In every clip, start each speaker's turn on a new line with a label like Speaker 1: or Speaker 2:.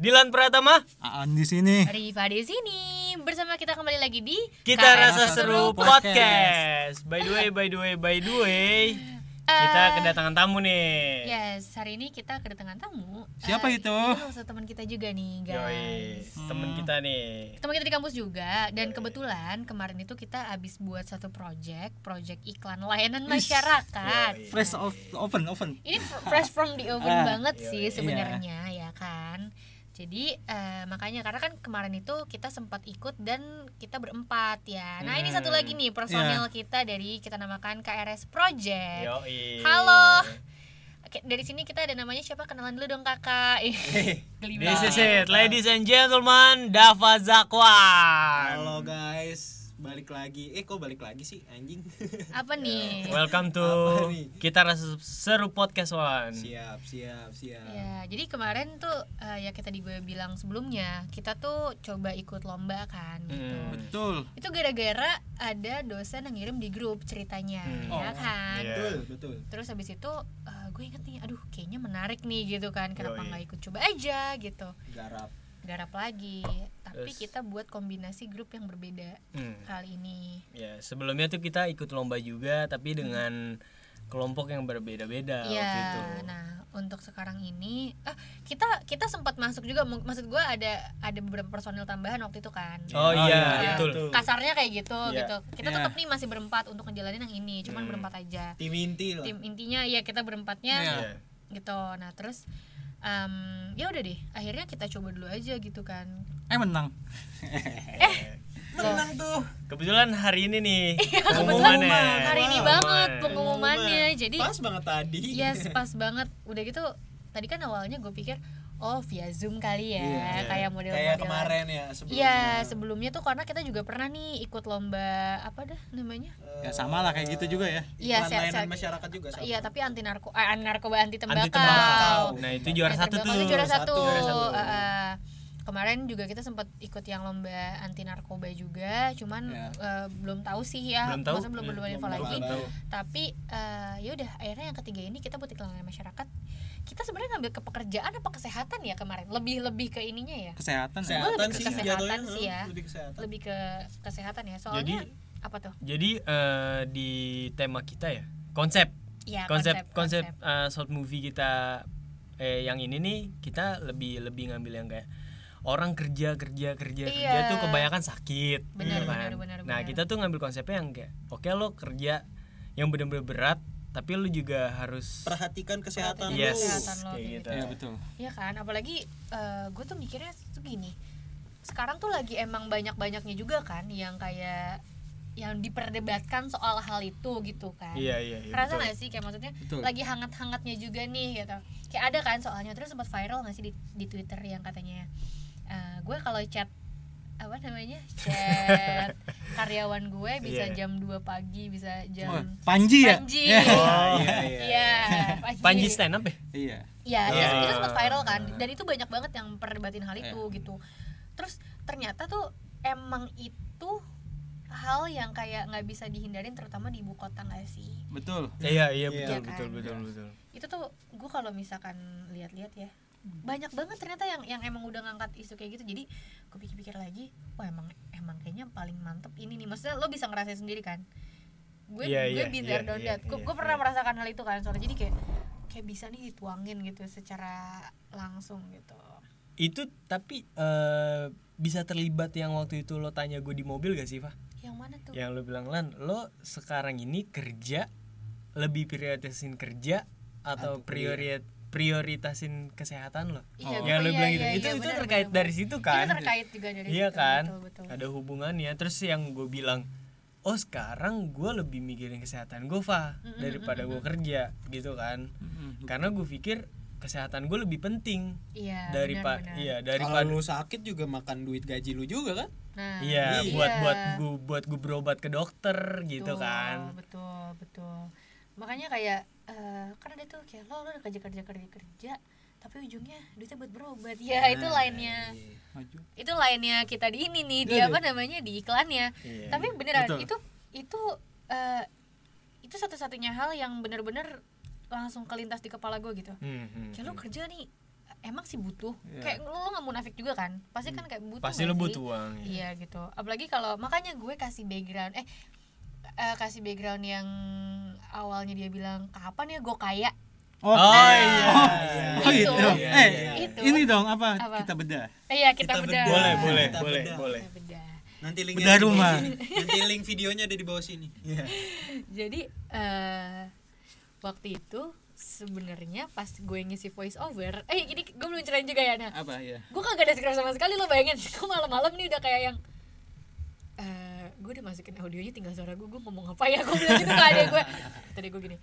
Speaker 1: Dilan Pratama,
Speaker 2: Aan di sini.
Speaker 3: Riva di sini bersama kita kembali lagi di
Speaker 1: kita
Speaker 3: KS.
Speaker 1: rasa seru
Speaker 2: Seru
Speaker 1: podcast. By the way, by the way, by the way, kita kedatangan tamu nih.
Speaker 3: Eh. Yes, hari ini kita kedatangan tamu.
Speaker 2: Siapa
Speaker 3: Eh,
Speaker 2: itu?
Speaker 3: ini salah satu teman kita juga nih,
Speaker 1: Yoi,
Speaker 3: guys.
Speaker 1: temen kita nih.
Speaker 3: Teman kita di kampus juga dan kebetulan kemarin itu kita habis buat satu project, project iklan layanan masyarakat.
Speaker 2: Fresh of oven oven.
Speaker 3: Ini fr- fresh from the oven
Speaker 2: Ah,
Speaker 3: banget
Speaker 1: iya,
Speaker 3: sih
Speaker 1: iya.
Speaker 3: sebenarnya ya kan. Jadi eh, makanya karena kan kemarin itu kita sempat ikut dan kita berempat ya. Nah, ini satu
Speaker 1: Hmm.
Speaker 3: lagi nih personil kita dari kita namakan KRS Project.
Speaker 1: Yoi.
Speaker 3: Halo. Oke, dari sini kita ada namanya siapa? Kenalan dulu dong, Kakak. Ih,
Speaker 1: Eh,
Speaker 3: geli
Speaker 1: This is
Speaker 3: banget.
Speaker 1: it, ladies and gentlemen, Dava Zakwan.
Speaker 4: Halo guys, balik lagi. Eh kok balik lagi sih anjing?
Speaker 3: Apa nih? Iya,
Speaker 1: Welcome to
Speaker 4: Apa nih?
Speaker 1: kita rasa seru podcast one.
Speaker 4: siap, siap, siap.
Speaker 3: Ya, jadi kemarin tuh eh, ya kita di gue bilang sebelumnya, kita tuh coba ikut lomba kan gitu.
Speaker 1: Hmm.
Speaker 2: Betul.
Speaker 3: Itu gara-gara ada dosen yang ngirim di grup ceritanya,
Speaker 1: Hmm.
Speaker 3: ya
Speaker 2: Oh,
Speaker 3: kan?
Speaker 1: iya.
Speaker 4: Betul, betul.
Speaker 3: Terus habis itu eh, gue inget nih, aduh kayaknya menarik nih gitu kan, kenapa
Speaker 1: Yoi.
Speaker 3: nggak ikut coba aja gitu.
Speaker 4: Garap.
Speaker 3: Garap lagi, tapi
Speaker 1: Terus.
Speaker 3: kita buat kombinasi grup yang berbeda
Speaker 1: Hmm.
Speaker 3: kali ini.
Speaker 1: Ya, sebelumnya tuh kita ikut lomba juga tapi dengan kelompok yang berbeda-beda waktu
Speaker 3: Iya.
Speaker 1: itu.
Speaker 3: Nah, untuk sekarang ini ah kita kita sempat masuk juga Mu- maksud gua ada ada beberapa personil tambahan waktu itu kan.
Speaker 1: Oh,
Speaker 2: Oh,
Speaker 1: iya,
Speaker 2: iya,
Speaker 1: betul.
Speaker 4: betul.
Speaker 3: Kasarnya kayak gitu
Speaker 1: Iya.
Speaker 3: gitu. Kita
Speaker 2: Iya.
Speaker 3: tetap nih masih berempat untuk ngejalanin yang ini, cuman
Speaker 1: Hmm.
Speaker 3: berempat aja.
Speaker 4: Tim inti lah.
Speaker 3: Tim intinya ya kita berempatnya
Speaker 2: Iya.
Speaker 1: Iya.
Speaker 3: gitu. Nah, terus em, ya udah deh, akhirnya kita coba dulu aja gitu kan.
Speaker 2: Eh menang.
Speaker 3: Eh.
Speaker 1: Eh.
Speaker 4: Menang tuh.
Speaker 1: Kebetulan hari ini nih
Speaker 3: Iya, Kebetulan
Speaker 1: pengumumannya.
Speaker 3: hari ini
Speaker 4: Wow.
Speaker 3: banget
Speaker 1: Pengumuman.
Speaker 3: pengumumannya.
Speaker 4: Pengumuman.
Speaker 3: Jadi Iya, ya.
Speaker 4: pas banget tadi.
Speaker 3: Yes, pas banget. Udah gitu, tadi kan awalnya gue pikir, oh via zoom kali ya, kayak model
Speaker 4: Iya. Kayak kemarin ya sebelumnya.
Speaker 3: Iya, sebelumnya tuh karena kita juga pernah nih ikut lomba apa dah namanya?
Speaker 4: Eh,
Speaker 2: Ya sama lah kayak gitu juga ya.
Speaker 3: Iya,
Speaker 4: Iklan
Speaker 3: saya-
Speaker 4: layanan
Speaker 3: saya-
Speaker 4: masyarakat juga sama.
Speaker 3: Iya, tapi anti narko, eh, anti narkoba anti tembakau.
Speaker 1: Anti tembakau. Nah, itu juara
Speaker 3: Anti
Speaker 1: satu
Speaker 3: tembakau
Speaker 1: tuh.
Speaker 3: itu juara satu.
Speaker 4: Juara satu.
Speaker 3: Eh, eh, kemarin juga kita sempat ikut yang lomba anti narkoba juga, cuman
Speaker 2: Ya.
Speaker 3: eh, belum tahu sih ya,
Speaker 1: Iya. Belum tahu.
Speaker 3: maksudnya belum
Speaker 1: Hmm,
Speaker 3: belum ada info
Speaker 4: belum
Speaker 3: lagi.
Speaker 4: tahu.
Speaker 3: tapi eh, yaudah akhirnya yang ketiga ini kita buat iklan layanan masyarakat kita sebenarnya ngambil ke pekerjaan apa kesehatan ya kemarin lebih lebih ke ininya ya
Speaker 2: Kesehatan ya.
Speaker 3: Gua
Speaker 4: Kesehatan
Speaker 3: lebih ke
Speaker 4: sih
Speaker 3: kesehatan
Speaker 4: jatuhnya.
Speaker 3: sih ya.
Speaker 4: Lebih kesehatan.
Speaker 3: lebih ke kesehatan ya soalnya
Speaker 1: Jadi-
Speaker 3: apa tuh
Speaker 1: Jadi eh, di tema kita ya, konsep.
Speaker 3: ya
Speaker 1: konsep konsep, eh, short movie kita eh yang ini nih kita lebih lebih ngambil yang kayak orang kerja kerja kerja
Speaker 3: Iya.
Speaker 1: kerja tuh kebanyakan sakit gitu
Speaker 3: Benar,
Speaker 1: kan.
Speaker 3: benar, benar,
Speaker 1: nah
Speaker 3: benar.
Speaker 1: kita tuh ngambil konsepnya yang kayak oke lo kerja yang benar-benar berat tapi lo juga harus
Speaker 4: Perhatikan kesehatan
Speaker 3: Perhatikan
Speaker 1: yes
Speaker 3: kesehatan lo,
Speaker 1: kayak
Speaker 3: kayak
Speaker 1: gitu.
Speaker 2: Iya betul.
Speaker 3: ya kan apalagi gue tuh mikirnya tuh gini sekarang tuh lagi emang banyak banyaknya juga kan yang kayak yang diperdebatkan soal hal itu gitu kan
Speaker 1: iya iya iya,
Speaker 3: Rasa
Speaker 1: betul.
Speaker 3: gak sih kayak maksudnya
Speaker 2: Betul.
Speaker 3: lagi hangat-hangatnya juga nih gitu. Kayak ada kan soalnya terus sempat viral gak sih di, di Twitter yang katanya eh, gue kalau chat apa namanya? Chat karyawan gue bisa
Speaker 1: Iya.
Speaker 3: jam 2 pagi, bisa
Speaker 2: Wah,
Speaker 3: jam
Speaker 2: Panji
Speaker 3: Iya.
Speaker 2: ya.
Speaker 3: Panji.
Speaker 1: Oh, iya, iya.
Speaker 3: Iya,
Speaker 1: Panji stand up ya?
Speaker 2: Iya.
Speaker 3: Iya,
Speaker 1: Iya.
Speaker 3: itu- itu sempat viral kan. Dan itu banyak banget yang perdebatin hal itu gitu. Terus ternyata tuh emang itu hal yang kayak nggak bisa dihindarin terutama di ibu kota nggak sih?
Speaker 2: Betul.
Speaker 1: Iya, iya betul,
Speaker 3: betul, Iya
Speaker 1: betul,
Speaker 3: betul, kan?
Speaker 1: betul,
Speaker 3: betul,
Speaker 1: betul.
Speaker 3: itu tuh gue kalau misalkan lihat-lihat ya
Speaker 1: Hmm.
Speaker 3: banyak banget ternyata yang yang emang udah ngangkat isu kayak gitu jadi gue pikir-pikir lagi wah emang emang kayaknya paling mantep ini nih maksudnya lo bisa ngerasain sendiri kan gue
Speaker 1: Iya, iya,
Speaker 3: gue been
Speaker 1: iya,
Speaker 3: there done
Speaker 1: iya,
Speaker 3: that. Gue-
Speaker 1: iya,
Speaker 3: gue pernah
Speaker 1: iya.
Speaker 3: merasakan hal itu kan soalnya jadi kayak kayak bisa nih dituangin gitu secara langsung gitu
Speaker 1: Itu tapi eh, bisa terlibat yang waktu itu lo tanya gue di mobil gak sih, Fah?
Speaker 3: yang mana tuh
Speaker 1: Yang lo bilang, Lan, lo sekarang ini kerja lebih prioritasin kerja atau prioritas prioritasin kesehatan lo?
Speaker 3: Iya,
Speaker 1: yang
Speaker 3: gue-
Speaker 1: lo
Speaker 3: iya,
Speaker 1: bilang
Speaker 3: iya,
Speaker 1: gitu.
Speaker 3: iya,
Speaker 1: itu itu
Speaker 3: benar,
Speaker 1: terkait
Speaker 3: benar,
Speaker 1: dari situ kan?
Speaker 3: itu terkait juga dari
Speaker 1: Iya
Speaker 3: situ,
Speaker 1: kan?
Speaker 3: betul, betul.
Speaker 1: Ada hubungannya. Terus yang gue bilang, oh sekarang gue lebih mikirin kesehatan gue, Fah, daripada gue kerja gitu kan.
Speaker 2: Hmm.
Speaker 1: Karena gue pikir kesehatan gue lebih penting
Speaker 3: iya
Speaker 1: dari
Speaker 3: benar,
Speaker 1: pak
Speaker 3: benar.
Speaker 1: iya
Speaker 4: Kalau
Speaker 1: daripada
Speaker 4: lu sakit juga makan duit gaji lu juga kan?
Speaker 3: nah
Speaker 1: iya
Speaker 4: Iya.
Speaker 1: buat buat gue buat gue berobat ke dokter gitu
Speaker 3: Betul,
Speaker 1: kan
Speaker 3: betul betul makanya kayak eh kan ada tuh kayak lo lo udah kerja kerja kerja kerja tapi ujungnya duitnya buat berobat ya
Speaker 4: Nah,
Speaker 1: Nah,
Speaker 3: itu lainnya
Speaker 1: iya.
Speaker 4: iya.
Speaker 2: Maju.
Speaker 3: itu lainnya kita di ini nih di apa namanya di iklannya
Speaker 1: Iya.
Speaker 3: tapi beneran
Speaker 2: Iya, Betul.
Speaker 3: itu itu eh, itu satu-satunya hal yang bener-bener langsung kelintas di kepala gue gitu
Speaker 1: Hmm, hmm.
Speaker 3: kayak lo kerja nih emang sih butuh
Speaker 2: Iya.
Speaker 3: kayak lu nggak munafik juga kan pasti kan kayak butuh
Speaker 1: Mm. pasti
Speaker 3: nggak
Speaker 1: lo
Speaker 3: sih?
Speaker 1: butuh uang ya.
Speaker 3: Iya gitu. Apalagi kalau makanya gue kasih background eh eh, kasih background yang awalnya dia bilang kapan ya gue kaya.
Speaker 2: Oh,
Speaker 1: Oh, iya.
Speaker 2: Oh, gitu.
Speaker 3: Itu.
Speaker 2: eh,
Speaker 3: Itu.
Speaker 2: ini dong apa,
Speaker 3: Apa?
Speaker 2: kita bedah.
Speaker 3: Eh, Iya, kita,
Speaker 4: Kita
Speaker 3: bedah.
Speaker 4: bedah.
Speaker 1: boleh boleh
Speaker 4: Kita
Speaker 1: boleh
Speaker 4: bedah.
Speaker 1: boleh
Speaker 3: Kita bedah.
Speaker 4: Nanti linknya
Speaker 2: Bedah
Speaker 4: ada di bawah
Speaker 2: rumah.
Speaker 4: sini. Nanti link videonya ada di bawah sini. Iya.
Speaker 3: Jadi eh waktu itu sebenarnya pas gue ngisi voice over, eh ini gue belum ceritain juga ya nah.
Speaker 2: Apa ya?
Speaker 3: Gue kagak ada script sama sekali lo bayangin. Gue malam-malam nih udah kayak yang eh gue udah masukin audionya tinggal suara gue, gue ngomong apa ya? Gue bilang gitu ke adek gue. Tadi gue gini.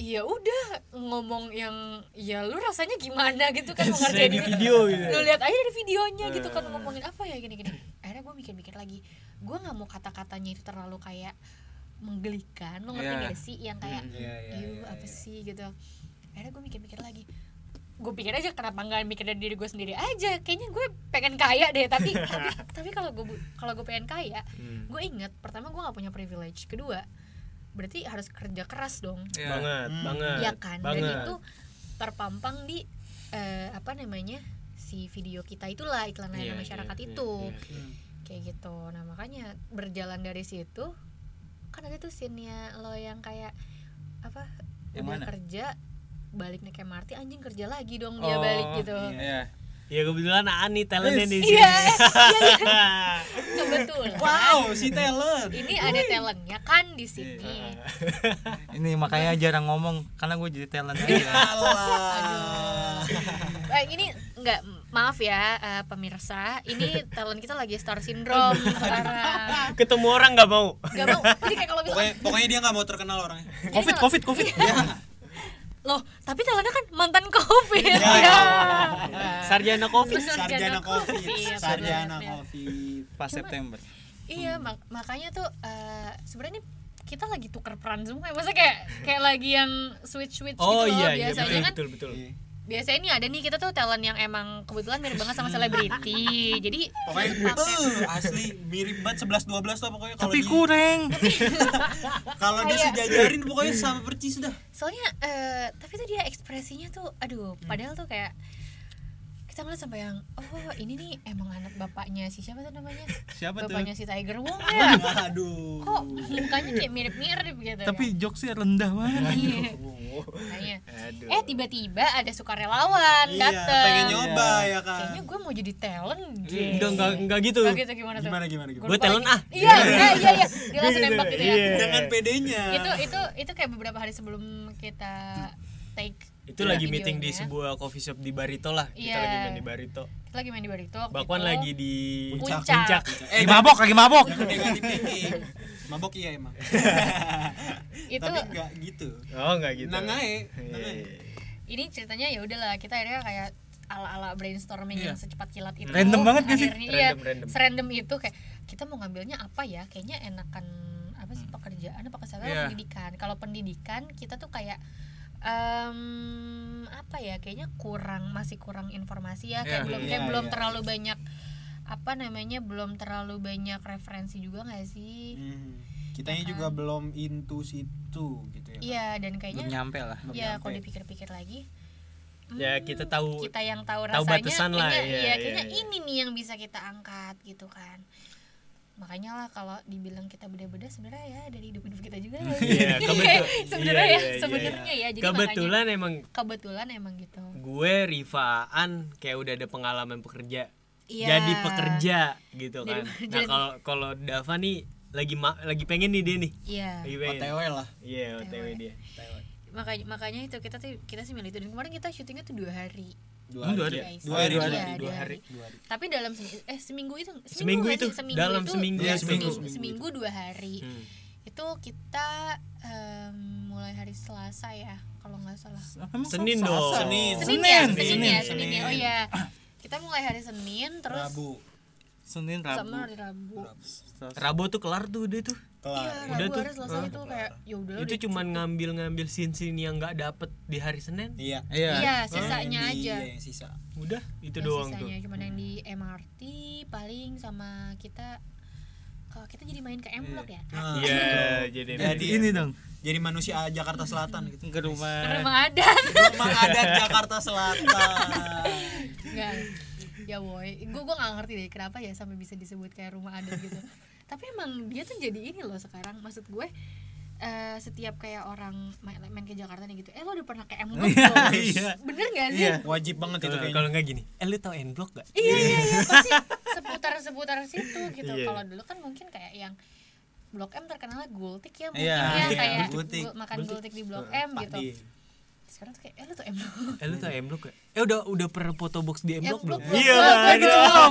Speaker 3: Iya udah ngomong yang ya lu rasanya gimana gitu kan mau
Speaker 1: Saya
Speaker 3: ngerjain
Speaker 1: di
Speaker 3: ini."
Speaker 1: video gitu
Speaker 4: ya.
Speaker 3: lu lihat aja dari videonya gitu kan
Speaker 1: Eh.
Speaker 3: ngomongin apa ya gini-gini akhirnya gue mikir-mikir lagi gue nggak mau kata-katanya itu terlalu kayak menggelikan lo ngerti
Speaker 2: Iya.
Speaker 3: gak sih yang kayak
Speaker 4: Hmm, iya, iya,
Speaker 3: "Iu,
Speaker 4: iya,
Speaker 3: apa
Speaker 4: iya."
Speaker 3: sih gitu akhirnya gue mikir-mikir lagi gue pikir aja kenapa nggak mikir dari diri gue sendiri aja kayaknya gue pengen kaya deh tapi tapi, tapi kalau gue bu- kalau gue pengen kaya
Speaker 1: Hmm.
Speaker 3: gue inget pertama gue nggak punya privilege kedua berarti harus kerja keras dong
Speaker 1: banget
Speaker 2: Hmm.
Speaker 1: banget
Speaker 3: Iya kan,
Speaker 1: banget
Speaker 3: dan itu terpampang di eh, apa namanya si video kita itulah
Speaker 1: Iya,
Speaker 3: iklan layanan
Speaker 1: iya,
Speaker 3: masyarakat
Speaker 1: iya,
Speaker 3: itu
Speaker 1: iya.
Speaker 3: kayak gitu. Nah makanya berjalan dari situ kan ada tuh scene-nya lo yang kayak apa
Speaker 2: Yang
Speaker 3: udah
Speaker 2: mana?
Speaker 3: kerja balik naik MRT anjing kerja lagi dong dia balik gitu.
Speaker 2: Iya.
Speaker 1: ya kebetulan Ani talentnya di sini
Speaker 3: Iya, kan? kebetulan.
Speaker 4: Wow, si talent.
Speaker 3: Ini ada talentnya kan di sini.
Speaker 2: Ini makanya jarang ngomong karena gue jadi talent
Speaker 1: Iya,
Speaker 2: aja.
Speaker 4: Alah.
Speaker 3: Eh, ini nggak maaf ya eh, pemirsa, ini talent kita lagi star syndrome sekarang.
Speaker 1: ketemu orang nggak mau
Speaker 3: Gak mau. Jadi kayak kalau
Speaker 4: Pokoknya,
Speaker 3: misalkan
Speaker 4: pokoknya dia nggak mau terkenal orangnya.
Speaker 2: covid, covid, covid.
Speaker 1: iya.
Speaker 3: loh, tapi talentnya kan mantan covid. Ya.
Speaker 1: sarjana covid
Speaker 3: Bener,
Speaker 4: Sarjana
Speaker 3: sarjana
Speaker 4: COVID,
Speaker 3: COVID,
Speaker 4: sarjana
Speaker 3: bener.
Speaker 4: COVID.
Speaker 2: Pas September.
Speaker 3: Iya, mak- makanya tuh eh, sebenarnya ini kita lagi tuker peran semua. ya. Masa kayak kayak lagi yang switch switch
Speaker 1: oh
Speaker 3: gitu loh
Speaker 1: iya iya betul
Speaker 3: biasanya kan.
Speaker 1: betul betul
Speaker 4: Iya.
Speaker 3: Biasanya ini ada nih kita tuh talent yang emang kebetulan mirip banget sama selebriti. Jadi
Speaker 4: Pokoknya gitu. beuh, asli mirip banget 11 12 tuh pokoknya kalau
Speaker 2: Tapi
Speaker 4: di-
Speaker 2: kurang.
Speaker 1: Iya,
Speaker 4: kalau dia
Speaker 3: Kayak-
Speaker 4: sejajarin pokoknya sama percis dah.
Speaker 3: soalnya eh, tapi tuh dia ekspresinya tuh aduh padahal tuh kayak kita ngeliat sampai yang oh ini nih emang anak bapaknya si siapa tuh namanya
Speaker 2: Siapa tuh?
Speaker 3: bapaknya si Tiger Wong ya
Speaker 4: Aduh.
Speaker 3: kok mukanya kayak mirip-mirip gitu ya?
Speaker 2: Tapi jokesnya rendah banget.
Speaker 3: Iya,
Speaker 1: Oh,
Speaker 3: makanya.
Speaker 1: aduh
Speaker 3: eh tiba-tiba ada sukarelawan
Speaker 4: Iya,
Speaker 3: dateng
Speaker 4: pengen nyoba
Speaker 1: Iya.
Speaker 4: ya kan. Iya.
Speaker 3: kayaknya gue mau jadi talent deh
Speaker 1: enggak enggak enggak gitu
Speaker 3: Oh, gitu gimana tuh
Speaker 4: Gimana gimana
Speaker 3: Gua
Speaker 4: gimana.
Speaker 1: Gua
Speaker 3: lupa
Speaker 1: talent
Speaker 3: lagi.
Speaker 1: ah.
Speaker 3: iya iya iya iya dia langsung nembak gitu ya
Speaker 1: Iya.
Speaker 4: Dengan pedenya.
Speaker 3: itu itu itu kayak beberapa hari sebelum kita take
Speaker 1: itu lagi
Speaker 3: videonya.
Speaker 1: meeting di sebuah coffee shop di Barito lah kita
Speaker 3: ya. Iya.
Speaker 1: lagi main di Barito
Speaker 3: kita lagi main di Barito waktu
Speaker 1: Bakwan
Speaker 3: itu.
Speaker 1: lagi di
Speaker 3: Puncak.
Speaker 1: puncak.
Speaker 2: Lagi mabok, lagi mabok.
Speaker 4: Jangan negatif thinking. Mabok iya emang.
Speaker 3: itu
Speaker 4: Tapi enggak gitu.
Speaker 1: Oh enggak gitu.
Speaker 4: Nang ae,
Speaker 1: Iya,
Speaker 4: nang ae.
Speaker 1: iya.
Speaker 3: ini ceritanya ya udahlah kita akhirnya kayak ala-ala brainstorming yang secepat kilat itu
Speaker 2: Iya. Random banget gak sih?
Speaker 3: Akhirnya, iya,
Speaker 1: Random, random.
Speaker 3: serandom itu kayak kita mau ngambilnya apa ya kayaknya enakan apa sih pekerjaan apa kesehatan
Speaker 2: Hmm. Iya.
Speaker 3: pendidikan kalau pendidikan kita tuh kayak em, apa ya kayaknya kurang masih kurang informasi ya kayak
Speaker 2: Iya.
Speaker 3: belum
Speaker 4: Iya,
Speaker 3: kayak belum
Speaker 4: iya.
Speaker 3: terlalu banyak apa namanya belum terlalu banyak referensi juga nggak sih
Speaker 4: Hmm. Kitanya juga belum into situ gitu ya. Kak?
Speaker 3: iya dan
Speaker 2: Belum
Speaker 3: kayaknya
Speaker 2: nyampe lah.
Speaker 4: Belum
Speaker 3: ya
Speaker 4: nyampe.
Speaker 3: kalau dipikir-pikir lagi
Speaker 1: Ya kita tahu
Speaker 3: Hmm, kita yang tahu
Speaker 1: tahu
Speaker 3: rasanya
Speaker 1: batasan lah, iya,
Speaker 3: kayaknya, iya,
Speaker 1: iya,
Speaker 3: kayaknya
Speaker 1: iya.
Speaker 3: ini nih yang bisa kita angkat gitu kan makanya lah kalau dibilang kita beda-beda sebenarnya ya dari hidup-hidup kita juga ya.
Speaker 1: Iya, kebetul-
Speaker 3: sebenarnya
Speaker 1: iya, iya,
Speaker 3: ya
Speaker 1: iya.
Speaker 3: sebenarnya ya jadi
Speaker 1: kebetulan emang
Speaker 3: makanya, kebetulan emang gitu
Speaker 1: gue Rifaan kayak udah ada pengalaman pekerja.
Speaker 3: Iya.
Speaker 1: Jadi pekerja gitu
Speaker 3: Jadi
Speaker 1: kan.
Speaker 3: pekerja.
Speaker 1: Nah, kalau kalau Dava nih lagi ma- lagi pengen nih dia nih.
Speaker 3: iya
Speaker 1: Lagi pengen.
Speaker 4: OTW lah.
Speaker 1: Iya,
Speaker 3: OTW.
Speaker 1: OTW dia.
Speaker 3: makanya makanya itu kita tuh kita sih milih itu dan kemarin kita syutingnya tuh dua hari
Speaker 4: Dua
Speaker 2: Hmm, dua
Speaker 4: hari.
Speaker 2: hari.
Speaker 3: guys.
Speaker 4: Dua hari,
Speaker 3: Iya,
Speaker 4: dua
Speaker 1: hari, dua hari.
Speaker 4: Dua hari.
Speaker 3: tapi dalam se- eh seminggu itu
Speaker 1: Seminggu
Speaker 3: nggak
Speaker 1: itu,
Speaker 3: sih? seminggu
Speaker 1: dalam
Speaker 3: itu,
Speaker 1: seminggu,
Speaker 3: iya,
Speaker 4: ya, seminggu.
Speaker 3: seminggu, seminggu dua hari
Speaker 1: Hmm.
Speaker 3: itu kita em, mulai hari Selasa ya kalau nggak salah
Speaker 2: Emang
Speaker 1: Senin
Speaker 2: Selasa?
Speaker 1: dong.
Speaker 4: Senin.
Speaker 3: Senin, ya
Speaker 2: Senin,
Speaker 3: Senin, ya
Speaker 4: Senin,
Speaker 3: Senin ya oh
Speaker 4: Senin.
Speaker 3: iya
Speaker 1: Ah.
Speaker 3: kita mulai hari Senin terus
Speaker 4: Rabu.
Speaker 2: Senin
Speaker 3: sama
Speaker 2: Rabu.
Speaker 3: hari Rabu
Speaker 2: Selasa.
Speaker 1: Rabu tuh kelar tuh dia tuh.
Speaker 3: iya
Speaker 4: Kelar.
Speaker 1: Udah
Speaker 3: Rabu
Speaker 1: tuh.
Speaker 3: hari Selasa itu kayak ya udah
Speaker 1: itu cuman ngambil-ngambil scene-scene yang nggak dapet di hari Senin.
Speaker 4: Iya.
Speaker 3: iya
Speaker 2: Iya.
Speaker 3: sisanya
Speaker 4: Yang di-
Speaker 3: aja
Speaker 4: iya, yang sisa.
Speaker 1: Udah, itu
Speaker 3: ya Yang
Speaker 1: doang Hmm.
Speaker 3: sisanya
Speaker 1: tuh.
Speaker 3: cuman yang di MRT paling sama kita kalau kita jadi main ke M Block ya
Speaker 4: Nah,
Speaker 1: Iya, jadi
Speaker 2: Jadi
Speaker 1: media.
Speaker 2: ini dong
Speaker 4: jadi manusia Jakarta Selatan gitu.
Speaker 2: ke rumah.
Speaker 3: karena emang ada
Speaker 4: Rumah adat Jakarta Selatan.
Speaker 3: Enggak. Ya boy, gue gue nggak ngerti deh kenapa ya sampai bisa disebut kayak rumah adat gitu. Tapi emang dia tuh jadi ini loh sekarang. Maksud gue eh, setiap kayak orang main, main ke Jakarta nih gitu, eh lo udah pernah ke M Block belum?
Speaker 2: Iya.
Speaker 3: Bener gak sih?
Speaker 2: Iya.
Speaker 4: Wajib banget itu
Speaker 1: Kalau-
Speaker 4: kayaknya.
Speaker 1: Kalau nggak gini, eh lu tau n block gak?
Speaker 3: Iya iya iya pasti seputar-seputar situ gitu.
Speaker 1: Iya.
Speaker 3: Kalau dulu kan mungkin kayak yang Blok M terkenalnya gultik ya mungkin
Speaker 2: Iya,
Speaker 3: ya
Speaker 2: gultik,
Speaker 3: kayak
Speaker 4: gultik.
Speaker 3: gu- makan
Speaker 1: Gultik.
Speaker 3: gultik di Blok
Speaker 4: Eh,
Speaker 3: M gitu.
Speaker 4: Pakdi.
Speaker 3: Sekarang tuh kayak eh lu tuh M Block.
Speaker 1: Eh lu tau n block gak? Eh udah udah pernah foto box di n block belum?
Speaker 3: Iya, gue belum.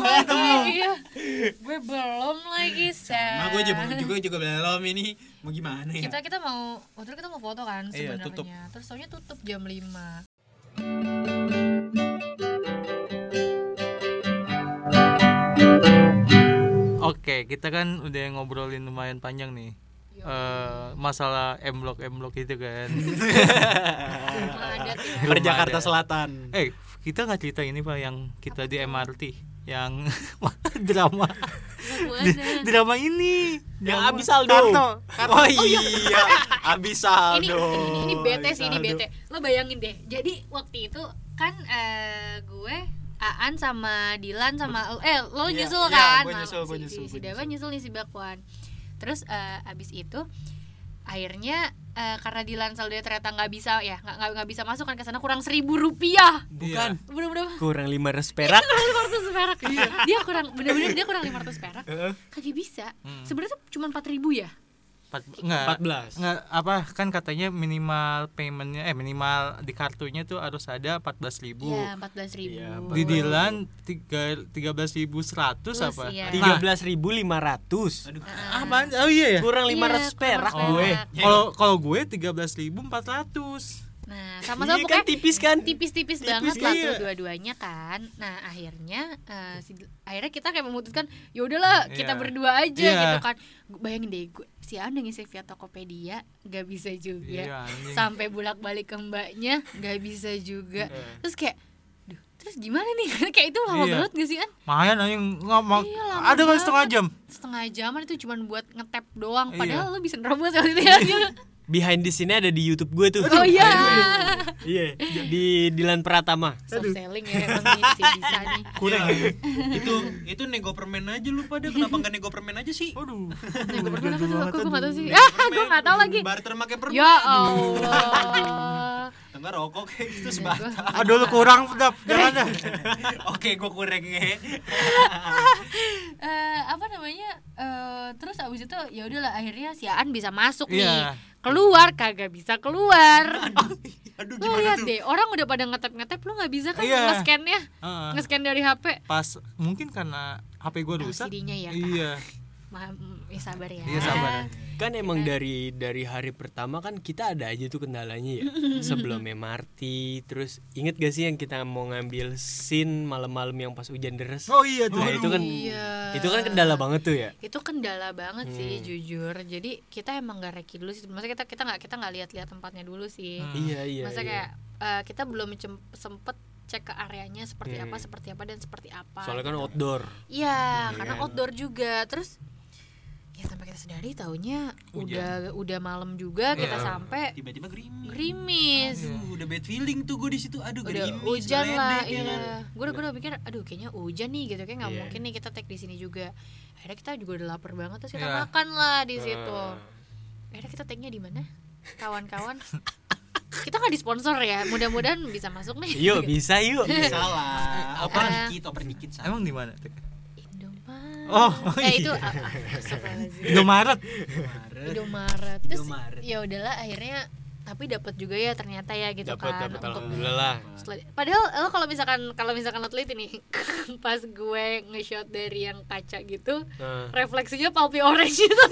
Speaker 3: Iya. Gue belum lagi,
Speaker 4: Nah,
Speaker 3: Sa.
Speaker 4: gue juga juga juga belum ini mau gimana ya?
Speaker 3: Kita kita mau waktu itu kita mau foto kan
Speaker 2: Iya, tutup.
Speaker 3: sebenarnya. Terus soalnya tutup jam 5.
Speaker 2: Oke, kita kan udah ngobrolin lumayan panjang nih.
Speaker 1: Iya.
Speaker 2: Eh, masalah M Block M Block itu kan.
Speaker 3: Rumah adat ya.
Speaker 4: Per
Speaker 2: Rumah
Speaker 4: Jakarta
Speaker 2: adat.
Speaker 4: Selatan.
Speaker 2: Eh, kita nggak cerita ini pak yang kita di MRT yang drama drama ini
Speaker 4: Yang
Speaker 2: Drama
Speaker 4: abis saldo.
Speaker 2: Karto. Karto.
Speaker 4: Oh iya, habis
Speaker 3: Ini
Speaker 4: saldo.
Speaker 3: ini, ini bete sih, ini
Speaker 4: Saldo.
Speaker 3: bete. Lo bayangin deh. Jadi waktu itu kan eh, gue Aan sama Dilan sama eh lo
Speaker 4: Iya,
Speaker 3: nyusul
Speaker 4: iya,
Speaker 3: kan.
Speaker 4: gue
Speaker 3: Mal-
Speaker 4: nyusul, gue
Speaker 3: si-
Speaker 4: nyusul,
Speaker 3: Si, si
Speaker 4: gue
Speaker 3: Dewa
Speaker 4: nyusul.
Speaker 3: nyusul nih si Bakwan. Terus eh, abis itu akhirnya eh, karena Dilan saldonya ternyata nggak bisa ya nggak nggak- nggak bisa masuk kan ke sana kurang seribu rupiah Iya.
Speaker 1: Bukan.
Speaker 3: bener-bener
Speaker 1: Kurang 500 perak.
Speaker 3: kurang 500 perak
Speaker 4: Iya.
Speaker 3: dia kurang bener-bener dia kurang 500 perak kagak bisa
Speaker 4: Hmm.
Speaker 3: sebenarnya tuh cuma 4000 ya
Speaker 2: Empat, enggak,
Speaker 4: 14.
Speaker 2: enggak, apa kan katanya minimal paymentnya eh minimal di kartunya tuh harus ada 14.000 ribu
Speaker 3: Iya, 14.000
Speaker 4: Iya,
Speaker 2: di Dilan tiga tiga belas ribu seratus
Speaker 3: Terus,
Speaker 2: apa
Speaker 3: iya.
Speaker 2: Nah,
Speaker 1: 13.500.
Speaker 4: Aduh.
Speaker 2: apaan oh iya ya
Speaker 1: Kurang
Speaker 3: Iya,
Speaker 1: 500 perak
Speaker 3: kurang
Speaker 1: gue.
Speaker 3: perak.
Speaker 2: Oh, eh, kalau kalau gue tiga belas ribu empat ratus
Speaker 3: nah
Speaker 1: Iya
Speaker 3: sama-sama
Speaker 1: kan
Speaker 3: pokoknya
Speaker 1: tipis kan?
Speaker 3: tipis-tipis banget
Speaker 2: Tipis,
Speaker 3: lah
Speaker 2: iya.
Speaker 3: tuh dua-duanya kan nah akhirnya eh, si, akhirnya kita kayak memutuskan ya udahlah kita
Speaker 2: Iya.
Speaker 3: berdua aja
Speaker 2: Iya.
Speaker 3: gitu kan Gu- bayangin deh gue si Aan udah ngisi via Tokopedia nggak bisa juga
Speaker 2: Iya, anjing.
Speaker 3: sampai bolak-balik ke mbaknya nggak bisa juga terus kayak duh terus gimana nih kayak itu lama
Speaker 2: Iya.
Speaker 3: banget gak sih An
Speaker 2: mayan anjing nggak mau
Speaker 3: Iya, lama
Speaker 2: ada kali
Speaker 3: banget.
Speaker 2: setengah jam
Speaker 3: setengah jaman itu cuman buat ngetap doang
Speaker 2: Iya.
Speaker 3: padahal lu bisa nerobos waktu itu ya
Speaker 1: Behind the scene ada di YouTube gue tuh.
Speaker 3: oh iya
Speaker 1: Iya, di Dilan Pratama.
Speaker 3: soft selling ya emang nih si bisa nih
Speaker 4: Kurang. itu itu nego permen aja lu pada kenapa nggak nego permen aja sih?
Speaker 2: aduh
Speaker 3: nah, gue pernah tuh aku gue gak tau sih ah gue gak tau lagi
Speaker 4: Barter make permen.
Speaker 3: ya Allah
Speaker 4: Enggak rokok kayak gitu sebatang.
Speaker 2: aduh lu kurang sedap jangan dah
Speaker 4: Oke, gue kurang ya.
Speaker 3: Eh, apa namanya Eh, terus abis itu ya udahlah akhirnya si Aan bisa masuk
Speaker 2: Iya.
Speaker 3: nih keluar kagak bisa keluar
Speaker 4: Aduh
Speaker 3: lu
Speaker 4: gimana
Speaker 3: lihat
Speaker 4: tuh?
Speaker 3: deh orang udah pada ngetap ngetap lu nggak bisa kan
Speaker 2: Iya.
Speaker 3: nge-scan-nya
Speaker 2: Heeh.
Speaker 3: nge-scan dari HP
Speaker 2: pas mungkin karena HP gue rusak
Speaker 3: LCD-nya ya, Kak.
Speaker 2: iya
Speaker 3: Ma- mm, ya sabar ya
Speaker 2: Iya, sabar.
Speaker 1: Kan emang dari dari hari pertama kan kita ada aja tuh kendalanya ya. Sebelum MRT, terus inget gak sih yang kita mau ngambil scene malam-malam yang pas hujan deras?
Speaker 2: oh iya tuh
Speaker 1: Nah, itu kan
Speaker 3: Iya.
Speaker 1: itu kan kendala banget tuh ya.
Speaker 3: itu kendala banget sih
Speaker 2: Hmm.
Speaker 3: jujur jadi kita emang gak reki dulu sih maksudnya kita kita nggak kita nggak lihat-lihat tempatnya dulu sih
Speaker 2: Hmm.
Speaker 1: Iya, iya.
Speaker 3: Maksudnya
Speaker 1: iya.
Speaker 3: kayak eh, kita belum cem- sempet cek ke areanya seperti apa seperti apa dan seperti
Speaker 1: Iya,
Speaker 3: apa gitu.
Speaker 1: Soalnya Hmm, kan outdoor.
Speaker 3: iya karena outdoor juga terus ya sampai kita sedari taunya udah udah malam juga kita
Speaker 1: Iya.
Speaker 3: sampai
Speaker 4: Tiba-tiba gerimis.
Speaker 3: gerimis
Speaker 4: Aduh, udah bad feeling tuh gue di situ. Aduh,
Speaker 3: udah
Speaker 4: gerimis.
Speaker 3: hujan lah
Speaker 4: ngeledek, ya kan?
Speaker 3: iya gue udah gue udah pikir aduh kayaknya hujan nih gitu kayak nggak mungkin nih kita take di sini juga akhirnya kita juga udah lapar banget terus kita
Speaker 2: Iya.
Speaker 3: makan lah di situ akhirnya kita take nya di mana kawan-kawan kita nggak disponsor ya mudah-mudahan bisa masuk nih
Speaker 1: Yuk, bisa yuk.
Speaker 3: Gitu
Speaker 4: Salah. Oper
Speaker 3: Eh.
Speaker 4: dikit, oper dikit salah.
Speaker 2: emang di mana
Speaker 3: Indomaret
Speaker 2: Oh,
Speaker 3: eh itu
Speaker 2: iya.
Speaker 3: ah, ah, astagfirullahaladzim.
Speaker 2: Indomaret
Speaker 4: Maret.
Speaker 3: Indomaret terus
Speaker 4: Indomaret.
Speaker 3: ya udahlah akhirnya tapi dapat juga ya ternyata ya gitu
Speaker 1: Dapat
Speaker 3: kan
Speaker 1: dapat
Speaker 3: untuk
Speaker 1: alhamdulillah lah.
Speaker 3: Setelah- padahal lo kalau misalkan kalau misalkan lo teliti nih pas gue nge-shot dari yang kaca gitu
Speaker 1: Nah.
Speaker 3: refleksinya palpi orange itu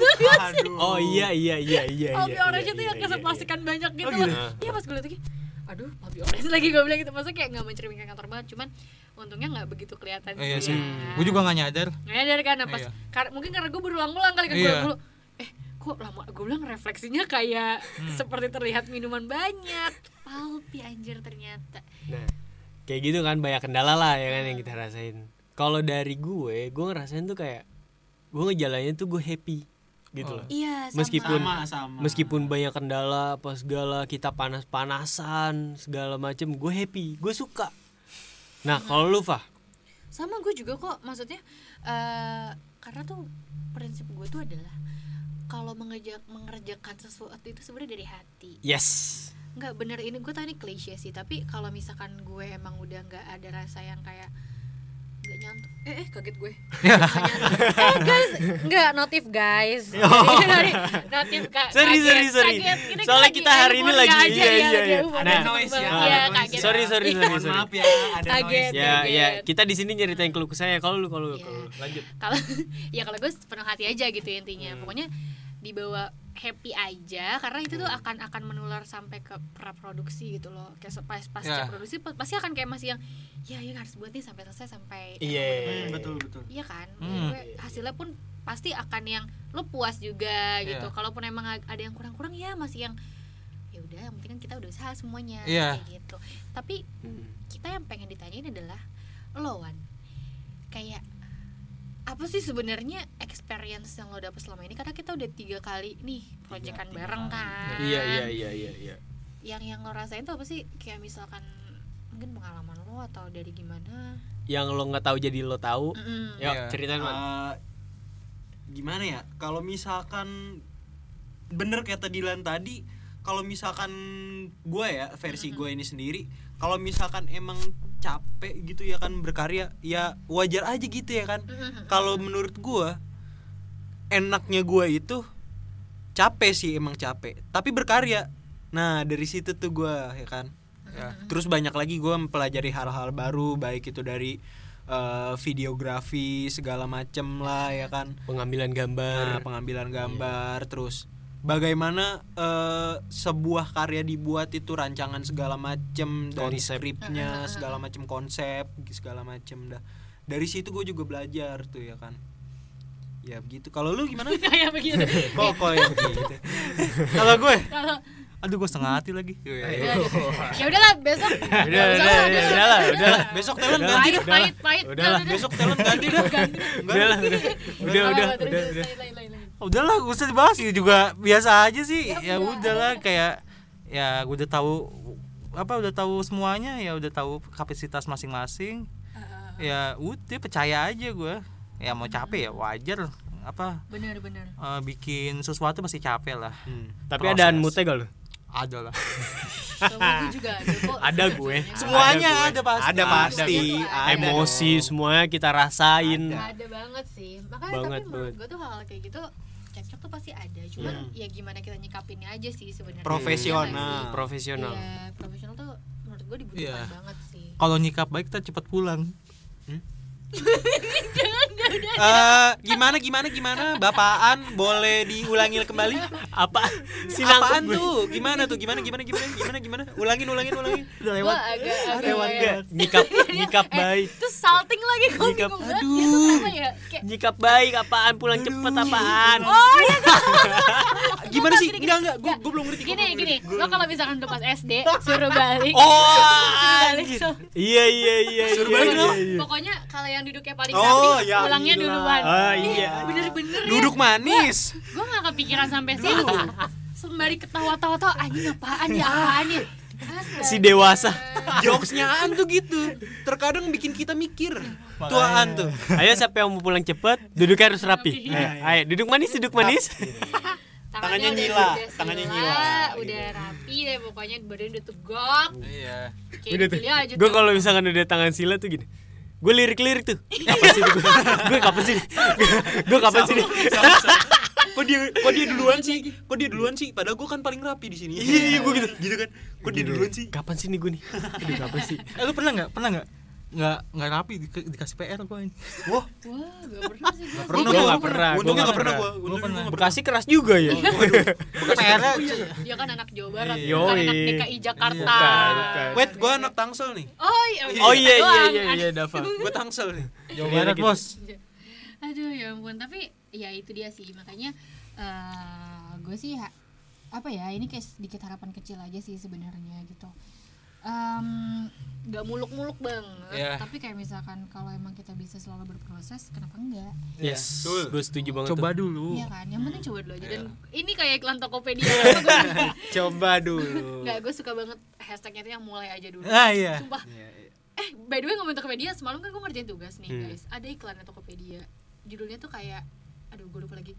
Speaker 4: Aduh.
Speaker 1: Oh iya iya iya iya.
Speaker 3: palpi
Speaker 1: iya, iya,
Speaker 3: orange itu
Speaker 1: iya,
Speaker 3: yang keset
Speaker 1: iya,
Speaker 3: plastikan banyak gitu
Speaker 1: Oh, gitu?
Speaker 3: loh. iya pas gue liat lagi aduh palpi orange lagi gue bilang gitu masa kayak nggak mencerminkan kantor banget cuman untungnya nggak begitu kelihatan
Speaker 1: Oh,
Speaker 2: Eh, iya sih
Speaker 3: ya.
Speaker 2: gue juga nggak nyadar
Speaker 3: Nah, dari kan nah, pas
Speaker 2: Iya.
Speaker 3: kar- mungkin karena gue berulang-ulang kali kan gue
Speaker 2: Iya.
Speaker 3: mulu, eh kok lama gue bilang refleksinya kayak
Speaker 1: Hmm.
Speaker 3: seperti terlihat minuman banyak palpi anjir ternyata
Speaker 1: Nah, kayak gitu kan banyak kendala lah ya kan yang kita rasain. Kalau dari gue, gue ngerasain tuh kayak gue ngejalanin tuh gue happy gitu
Speaker 2: Oh.
Speaker 1: loh
Speaker 3: Iya, sama.
Speaker 1: Meskipun-
Speaker 4: sama sama
Speaker 1: meskipun banyak kendala apa segala kita panas-panasan segala macem gue happy gue suka nah kalau lu Fah
Speaker 3: sama gue juga kok maksudnya eh karena tuh prinsip gue tuh adalah kalau mengejak mengerjakan sesuatu itu sebenarnya dari hati
Speaker 1: yes
Speaker 3: nggak bener ini gue tadi klise sih tapi kalau misalkan gue emang udah nggak ada rasa yang kayak nggak nyantuk eh, eh kaget gue Nggak nyantuk. eh guys nggak notif guys Sorry, notif kak
Speaker 1: Oh. Sorry,
Speaker 3: kaget,
Speaker 1: sorry, sorry.
Speaker 3: kaget. Ini
Speaker 1: Soalnya
Speaker 3: lagi
Speaker 1: kita hari ini
Speaker 3: euforia
Speaker 1: lagi-
Speaker 3: aja,
Speaker 1: iya,
Speaker 3: ya,
Speaker 1: iya,
Speaker 3: lagi
Speaker 1: iya.
Speaker 3: euforia
Speaker 1: Ada
Speaker 3: banget
Speaker 4: noise ya,
Speaker 3: banget.
Speaker 4: ada
Speaker 3: Iya,
Speaker 4: noise
Speaker 3: kaget
Speaker 4: ya.
Speaker 1: sorry sorry sorry
Speaker 4: Mohon
Speaker 1: sorry
Speaker 4: maaf ya ada
Speaker 3: Kaget.
Speaker 4: noise
Speaker 1: ya ya
Speaker 3: Kaget.
Speaker 1: kita di sini nyeritain keluh kesah ya kalau lu kalau lu
Speaker 3: Iya.
Speaker 1: kalau lu. lanjut
Speaker 3: kalau ya kalau gue penuh hati aja gitu intinya
Speaker 2: Hmm.
Speaker 3: pokoknya dibawa happy aja karena itu
Speaker 2: Hmm.
Speaker 3: tuh akan akan menular sampai ke praproduksi gitu loh kayak se- pas pasca
Speaker 2: Ya.
Speaker 3: produksi pa- pasti akan kayak masih yang ya ya harus buat nih sampai selesai sampai
Speaker 1: iya
Speaker 4: Hmm, betul betul
Speaker 3: iya kan
Speaker 2: Hmm.
Speaker 3: Gue hasilnya pun pasti akan yang lo puas juga gitu
Speaker 2: Iya.
Speaker 3: kalaupun emang a- ada yang kurang-kurang ya masih yang ya udah yang penting kan kita udah usaha semuanya
Speaker 2: Iya.
Speaker 3: kayak gitu tapi kita yang pengen ditanyain adalah lo Wan kayak apa sih sebenarnya experience yang lo dapet selama ini karena kita udah tiga kali nih proyekan
Speaker 4: tiga
Speaker 3: bareng
Speaker 4: kali.
Speaker 3: kan
Speaker 1: iya iya iya iya iya
Speaker 3: yang yang lo rasain tuh apa sih kayak misalkan mungkin pengalaman lo atau dari gimana
Speaker 1: yang lo nggak tahu jadi lo tahu
Speaker 3: Mm-mm.
Speaker 1: yuk
Speaker 2: Iya.
Speaker 1: ceritain man
Speaker 4: Eh, gimana ya kalau misalkan bener kata Dilan tadi kalau misalkan gua ya versi gua ini sendiri kalau misalkan emang capek gitu ya kan berkarya ya wajar aja gitu ya kan
Speaker 3: Mm-mm.
Speaker 4: kalau menurut gua enaknya gua itu capek sih emang capek tapi berkarya nah dari situ tuh gua ya kan
Speaker 2: Ya.
Speaker 4: terus banyak lagi gua mempelajari hal-hal baru baik itu dari eh, videografi segala macem lah ya kan
Speaker 1: pengambilan
Speaker 4: Nah,
Speaker 1: gambar
Speaker 4: pengambilan gambar terus bagaimana eh, sebuah karya dibuat itu rancangan segala macem dari
Speaker 1: Konsep.
Speaker 4: skripnya segala macem konsep segala macem dah dari situ gue juga belajar tuh ya kan ya begitu kalau lu gimana
Speaker 3: kayak begitu
Speaker 4: kok kok ya begitu kalau gue
Speaker 3: kalau
Speaker 2: Aduh gue setengah hati lagi.
Speaker 3: ya ya udahlah besok
Speaker 1: udah udah udah udah lah udah lah
Speaker 4: besok talent
Speaker 1: Udah.
Speaker 4: ganti
Speaker 3: pahit
Speaker 4: dah
Speaker 3: pahit pahit
Speaker 1: Udah lah,
Speaker 4: besok talent ganti dah Enggak.
Speaker 1: udah lah udah udah
Speaker 3: Apa,
Speaker 1: udah
Speaker 3: apa, terus,
Speaker 1: udah
Speaker 3: terus,
Speaker 1: udah
Speaker 3: lain, lain, lain.
Speaker 2: udahlah gak usah dibahas ya juga biasa aja sih
Speaker 3: Ya
Speaker 2: ya, udahlah kayak ya gue udah tahu apa udah tahu semuanya ya udah tahu kapasitas masing-masing
Speaker 3: Uh,
Speaker 2: ya udah percaya aja gue ya mau capek ya wajar apa
Speaker 3: bener bener
Speaker 2: eh, bikin sesuatu pasti capek lah
Speaker 1: Hmm. tapi
Speaker 2: Proses.
Speaker 1: ada unmute gak lu
Speaker 2: ada lah
Speaker 3: Sama gue juga ada kok
Speaker 1: ada gue
Speaker 2: Semuanya
Speaker 1: gue.
Speaker 2: ada pasti.
Speaker 4: ada pasti
Speaker 3: Ada dong.
Speaker 4: ada dong.
Speaker 1: emosi semuanya kita rasain
Speaker 4: Iya.
Speaker 3: ada banget sih makanya
Speaker 1: Banget,
Speaker 3: tapi menurut
Speaker 1: banget. Iya.
Speaker 3: gue tuh hal kayak gitu cekcok tuh pasti ada cuman ya gimana kita nyikapinnya aja sih sebenarnya
Speaker 4: profesional
Speaker 1: profesional
Speaker 3: Iya, profesional tuh menurut gue dibutuhkan
Speaker 2: Iya.
Speaker 3: banget sih
Speaker 2: kalau nyikap baik kita cepat pulang
Speaker 4: Eh, gimana gimana gimana bapaan boleh diulangi kembali
Speaker 1: apa
Speaker 4: apaan tuh gimana tuh gimana gimana gimana gimana gimana ulangin ulangin ulangin
Speaker 2: udah
Speaker 3: gue
Speaker 2: lewat
Speaker 3: agak agak
Speaker 1: lewat gak nyikap
Speaker 4: Iya.
Speaker 1: nyikap
Speaker 4: Eh.
Speaker 1: baik
Speaker 3: terus salting lagi gue
Speaker 1: Nyikap-
Speaker 3: bingung banget itu kenapa ya kayak
Speaker 1: nyikap baik apaan pulang cepet apaan
Speaker 4: Oh, gimana sih enggak enggak gue belum ngerti gua
Speaker 3: gini
Speaker 4: belum
Speaker 3: gini
Speaker 4: ngerti. Gua
Speaker 3: lo
Speaker 4: belum
Speaker 3: kalau misalkan udah pas SD suruh balik
Speaker 1: oh
Speaker 3: balik so,
Speaker 1: iya iya iya
Speaker 4: Suruh
Speaker 1: iya,
Speaker 4: balik
Speaker 1: iya,
Speaker 4: dong.
Speaker 1: iya.
Speaker 3: pokoknya kalau yang duduknya paling
Speaker 4: Oh,
Speaker 3: samping
Speaker 4: ya
Speaker 3: pulangnya
Speaker 4: gila.
Speaker 3: duluan
Speaker 1: Ah, iya.
Speaker 3: bener-bener
Speaker 4: ngerti.
Speaker 3: ya
Speaker 4: duduk manis
Speaker 3: gue gak kepikiran sampai situ sembari ketawa-tawa-tawa anjing apaan ya apaan ya Astaga.
Speaker 1: si dewasa
Speaker 4: jokesnyaan tuh gitu terkadang bikin kita mikir tuaan tuh
Speaker 1: ayo siapa yang mau pulang cepet duduknya harus rapi ayo, ayo, duduk manis duduk manis
Speaker 4: Tangannya
Speaker 3: udah-
Speaker 4: nyila,
Speaker 3: udah
Speaker 4: tangannya
Speaker 3: sila,
Speaker 4: nyila, gitu.
Speaker 3: udah rapi deh pokoknya badan udah tegak
Speaker 2: iya
Speaker 3: kayak
Speaker 1: udah tuh
Speaker 3: dipilih gitu aja
Speaker 1: gue
Speaker 3: tuh.
Speaker 1: kalau misalkan udah tangan sila tuh gini gue lirik-lirik tuh kapan sih gue kapan sih gue kapan sih
Speaker 4: kok dia kok dia duluan sih kok dia duluan sih padahal gue kan paling rapi di sini iya iya gue gitu gitu kan kok dia duluan sih
Speaker 1: kapan sih nih gue nih aduh kapan sih
Speaker 2: eh lu pernah nggak pernah nggak nggak nggak rapi di- dikasih PR gue ini
Speaker 4: wah
Speaker 3: wah gak pernah sih gue
Speaker 1: pernah, gua nggak pernah, gua
Speaker 4: untungnya
Speaker 1: nggak
Speaker 4: nggak pernah
Speaker 1: pernah.
Speaker 4: gue untungnya gue
Speaker 1: Bekasi keras juga ya
Speaker 2: PR
Speaker 3: dia kan anak Jawa Barat
Speaker 1: Iya.
Speaker 3: bukan anak
Speaker 1: Yoi.
Speaker 3: DKI Jakarta
Speaker 1: Bukan, bukan.
Speaker 4: wait gue anak tangsel nih
Speaker 3: oh iya
Speaker 1: oh iya iya
Speaker 3: doang.
Speaker 1: iya iya Dava
Speaker 4: gue tangsel nih
Speaker 2: Jawa Barat
Speaker 1: Gitu.
Speaker 2: bos
Speaker 3: aduh ya ampun tapi ya itu dia sih makanya eh gue sih ha- apa ya ini kayak sedikit harapan kecil aja sih sebenarnya gitu Eh em, nggak muluk-muluk bang
Speaker 2: Iya.
Speaker 3: tapi kayak misalkan kalau emang kita bisa selalu berproses kenapa enggak
Speaker 1: Yes,
Speaker 4: Betul.
Speaker 1: gue setuju banget.
Speaker 2: Coba
Speaker 1: tuh.
Speaker 2: dulu.
Speaker 3: Iya kan yang penting coba dulu aja dan
Speaker 2: Uh. Iya.
Speaker 3: ini kayak iklan Tokopedia Apa gua bilang?
Speaker 1: coba dulu.
Speaker 3: nggak gue suka banget hashtagnya tuh yang mulai aja dulu
Speaker 2: Ah iya.
Speaker 3: sumpah eh by the way ngomongin Tokopedia semalam kan gue ngerjain tugas
Speaker 1: Hmm.
Speaker 3: nih guys ada iklannya Tokopedia judulnya tuh kayak aduh gue lupa lagi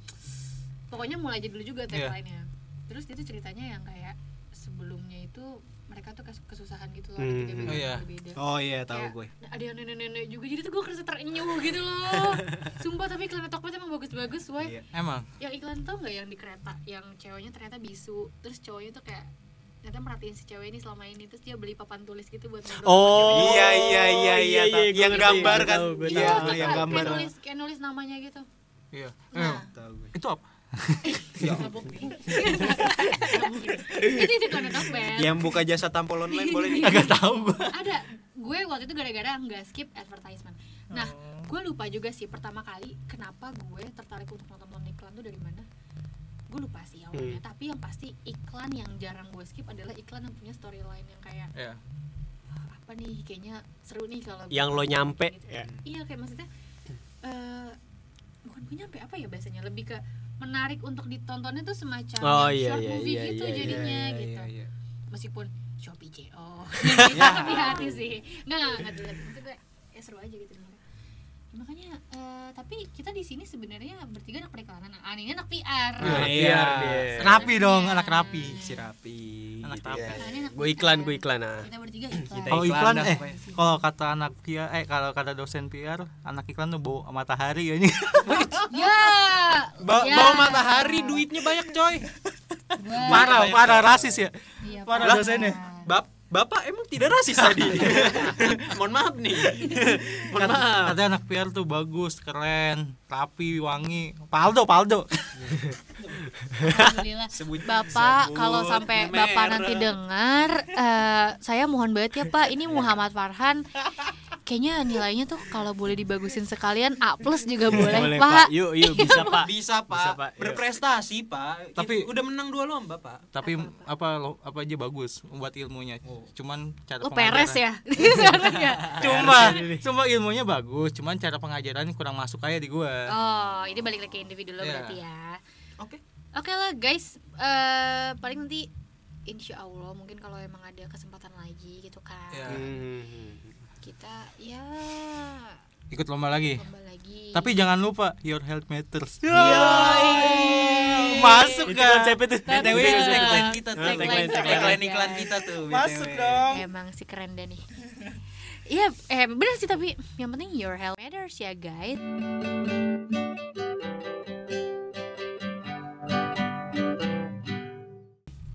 Speaker 3: pokoknya mulai aja dulu juga
Speaker 2: Iya.
Speaker 3: tagline-nya terus itu ceritanya yang kayak sebelumnya itu mereka tuh kes- kesusahan gitu loh
Speaker 1: Hmm.
Speaker 3: ada tiga
Speaker 1: Oh,
Speaker 3: beda
Speaker 2: iya.
Speaker 3: berbeda
Speaker 4: Oh iya
Speaker 3: Kayak
Speaker 4: tahu gue.
Speaker 3: ada yang nenek-nenek juga jadi tuh gue kerasa terenyuh gitu loh sumpah tapi iklan Tokopedia emang bagus-bagus woi
Speaker 4: Iya.
Speaker 2: Emang.
Speaker 3: yang iklan tau nggak yang di kereta yang ceweknya ternyata bisu terus cowoknya tuh kayak ternyata merhatiin si cewek ini selama ini terus dia beli papan tulis gitu buat ngobrol sama
Speaker 1: Oh,
Speaker 4: Iya, iya, iya, iya,
Speaker 1: iya,
Speaker 4: tahu.
Speaker 1: gue
Speaker 4: Yang
Speaker 1: ngerti,
Speaker 4: gambar
Speaker 1: gue
Speaker 4: kan.
Speaker 1: tahu, gue
Speaker 3: cewek.
Speaker 1: tahu.
Speaker 4: Iya,
Speaker 3: Terus
Speaker 4: yang
Speaker 3: kayak
Speaker 4: gambar.
Speaker 3: nulis kayak nulis namanya gitu
Speaker 2: Iya.
Speaker 3: nah
Speaker 4: Tahu gue.
Speaker 2: Itu apa?
Speaker 3: mabuk nih. itu itu iklan kapel
Speaker 4: Yang buka jasa tampol online boleh nih.
Speaker 2: Agak tahu gua.
Speaker 3: ada gue waktu itu gara-gara nggak skip advertisement nah gue lupa juga sih pertama kali kenapa gue tertarik untuk nonton nonton iklan tuh dari mana gue lupa sih awalnya tapi yang pasti iklan yang jarang gue skip adalah iklan yang punya storyline yang kayak
Speaker 2: Iya.
Speaker 3: "Ah, apa nih kayaknya seru nih kalau
Speaker 1: Yang lo nyampe,
Speaker 3: Gitu.
Speaker 1: ya.
Speaker 3: iya kayak maksudnya eh bukan gue nyampe apa ya bahasanya lebih ke menarik untuk ditontonnya tuh semacam
Speaker 1: Oh,
Speaker 3: yang
Speaker 1: iya,
Speaker 3: short
Speaker 1: iya,
Speaker 3: movie
Speaker 1: iya,
Speaker 3: gitu
Speaker 1: iya, iya,
Speaker 3: jadinya
Speaker 4: Iya,
Speaker 3: gitu
Speaker 4: iya, iya.
Speaker 3: meskipun Shopee CO
Speaker 1: Ya.
Speaker 3: hati-hati sih nggak nggak nggak dilihat maksudnya ya seru aja gitu dengar. Ya, makanya eh, tapi kita di sini sebenarnya bertiga anak periklanan nah, anehnya anak PR
Speaker 4: Nah,
Speaker 1: Iya,
Speaker 4: iya.
Speaker 1: dia.
Speaker 2: Rapi dong, anak rapi.
Speaker 4: Si Rapi.
Speaker 2: Anak
Speaker 4: gitu
Speaker 2: rapi.
Speaker 4: ya.
Speaker 3: Anehnya anak
Speaker 1: Gue
Speaker 3: PR.
Speaker 1: iklan, gue iklan ah.
Speaker 3: kita bertiga iklan
Speaker 4: Kita
Speaker 2: Kalau
Speaker 4: iklan
Speaker 2: iklan
Speaker 4: dah,
Speaker 2: eh
Speaker 4: pokoknya.
Speaker 2: kalau kata anak PR eh kalau kata dosen PR, anak iklan tuh bau matahari ya ini.
Speaker 3: ya
Speaker 4: Ba-
Speaker 3: ya.
Speaker 4: Bawa matahari duitnya banyak coy.
Speaker 3: Gua-
Speaker 2: parah,
Speaker 4: Banyak
Speaker 2: parah rasis ya.
Speaker 3: Iya,
Speaker 2: Parah
Speaker 3: Pak.
Speaker 2: dosennya.
Speaker 4: Bap Bapak emang tidak rasis tadi. Mohon maaf nih. Mohon maaf.
Speaker 2: Kata anak PR tuh bagus, keren, rapi, wangi. Paldo, Paldo.
Speaker 3: Alhamdulillah.
Speaker 4: Sebut-
Speaker 3: Bapak
Speaker 4: sebut
Speaker 3: kalau sampai
Speaker 4: merek.
Speaker 3: Bapak nanti dengar eh, saya mohon banget ya Pak, ini Muhammad Farhan kayaknya nilainya tuh kalau boleh dibagusin sekalian A plus juga boleh, Pak.
Speaker 1: Yuk, yuk bisa Pak.
Speaker 4: Bisa, Pak.
Speaker 1: Bisa, Pak. Iya.
Speaker 4: Berprestasi, Pak.
Speaker 2: Tapi-
Speaker 4: udah menang dua lomba, Pak.
Speaker 2: Tapi apa lo- apa aja bagus buat ilmunya. Cuman cara
Speaker 3: Lu peres
Speaker 2: pengajaran-
Speaker 3: ya. Sekarang ya?
Speaker 2: Cuma, cuma ilmunya bagus, cuman cara pengajaran kurang masuk aja di gua.
Speaker 3: Oh, ini balik lagi ke individu lo
Speaker 2: Iya.
Speaker 3: berarti ya.
Speaker 4: Oke.
Speaker 3: Oke lah guys, eh paling nanti Insya Allah mungkin kalau emang ada kesempatan lagi gitu kan
Speaker 2: Iya.
Speaker 3: kita ya
Speaker 2: Ikut lomba lagi.
Speaker 3: lomba lagi.
Speaker 2: Eh, Tapi jangan lupa your health matters.
Speaker 3: Yoi.
Speaker 2: Masuk kan?
Speaker 1: Itu
Speaker 2: gak?
Speaker 1: konsepnya tuh.
Speaker 3: Tapi-
Speaker 4: BTW itu
Speaker 3: Iya.
Speaker 4: tagline kita tuh.
Speaker 3: Tagline,
Speaker 4: Tagline
Speaker 3: tagline.
Speaker 4: tagline iklan kita tuh.
Speaker 2: Masuk
Speaker 4: BTW.
Speaker 2: dong.
Speaker 3: Emang si keren deh nih. Iya, eh benar sih tapi yang penting your health matters ya guys.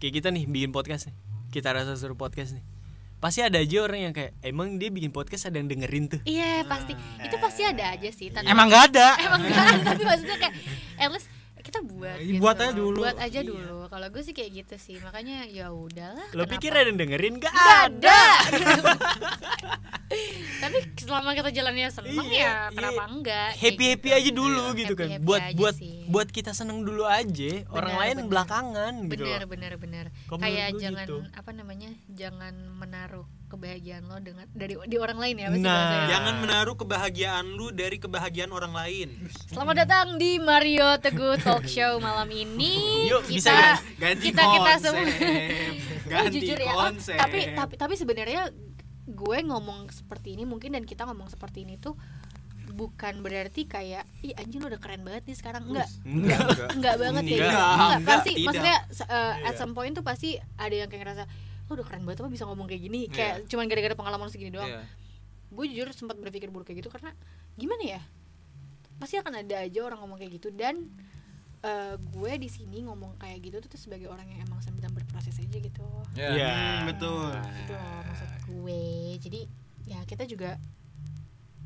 Speaker 1: Kayak kita nih bikin podcast nih. Kita rasa suruh podcast nih. Pasti ada aja orang yang kayak emang dia bikin podcast ada yang dengerin tuh.
Speaker 3: Iya pasti,
Speaker 1: Hmm.
Speaker 3: itu pasti ada aja sih. Tapi-
Speaker 2: Iya. Emang gak ada.
Speaker 3: emang enggak ada, tapi maksudnya kayak at least kita buat
Speaker 2: Iya,
Speaker 3: gitu.
Speaker 2: buat aja dulu.
Speaker 3: Buat aja
Speaker 2: Iya.
Speaker 3: dulu. Kalau gue sih kayak gitu sih. Makanya ya udahlah.
Speaker 1: Lo
Speaker 3: kenapa?
Speaker 1: pikir ada yang dengerin gak?
Speaker 3: ada. tapi selama kita jalannya seneng
Speaker 1: Iya,
Speaker 3: ya,
Speaker 1: iya.
Speaker 3: kenapa enggak? Kayak
Speaker 1: happy happy
Speaker 3: gitu.
Speaker 1: aja dulu
Speaker 3: Iya,
Speaker 1: gitu kan
Speaker 3: happy-happy
Speaker 1: buat
Speaker 3: aja
Speaker 1: buat
Speaker 3: sih.
Speaker 1: buat kita seneng dulu aja orang
Speaker 3: Benar,
Speaker 1: lain
Speaker 3: benar.
Speaker 1: belakangan gitu
Speaker 3: bener
Speaker 1: loh.
Speaker 3: bener bener
Speaker 1: Kalau menurut
Speaker 3: kayak
Speaker 1: gue
Speaker 3: jangan
Speaker 1: gitu.
Speaker 3: apa namanya jangan menaruh kebahagiaan lo dengan dari di orang lain ya apa sih
Speaker 1: Nah.
Speaker 3: bahasanya?
Speaker 4: Jangan menaruh kebahagiaan lu dari kebahagiaan orang lain.
Speaker 3: selamat datang di Mario Teguh Talk Show malam ini
Speaker 1: Yuk, bisa
Speaker 3: kita
Speaker 4: ya. Ganti
Speaker 3: kita kita semua Oh,
Speaker 4: Ganti
Speaker 3: jujur ya, oh,
Speaker 4: konsep.
Speaker 3: tapi tapi tapi sebenarnya gue ngomong seperti ini mungkin dan kita ngomong seperti ini tuh bukan berarti kayak ih anjing lo udah keren banget nih sekarang enggak
Speaker 1: Enggak.
Speaker 4: Iya.
Speaker 3: enggak banget ya
Speaker 1: Enggak,
Speaker 3: gitu. enggak,
Speaker 4: enggak,
Speaker 3: pasti
Speaker 4: tidak.
Speaker 3: maksudnya se- eh, at some point tuh pasti ada yang kayak ngerasa lo udah keren banget apa bisa ngomong kayak gini kayak cuman gara-gara pengalaman segini doang
Speaker 2: Iya.
Speaker 3: gue jujur sempat berpikir buruk kayak gitu karena gimana ya pasti akan ada aja orang ngomong kayak gitu dan eh, gue di sini ngomong kayak gitu tuh sebagai orang yang emang sedang berproses aja gitu
Speaker 2: Iya.
Speaker 1: Iya.
Speaker 4: Hmm, betul.
Speaker 3: gitu loh maksud gue jadi ya kita juga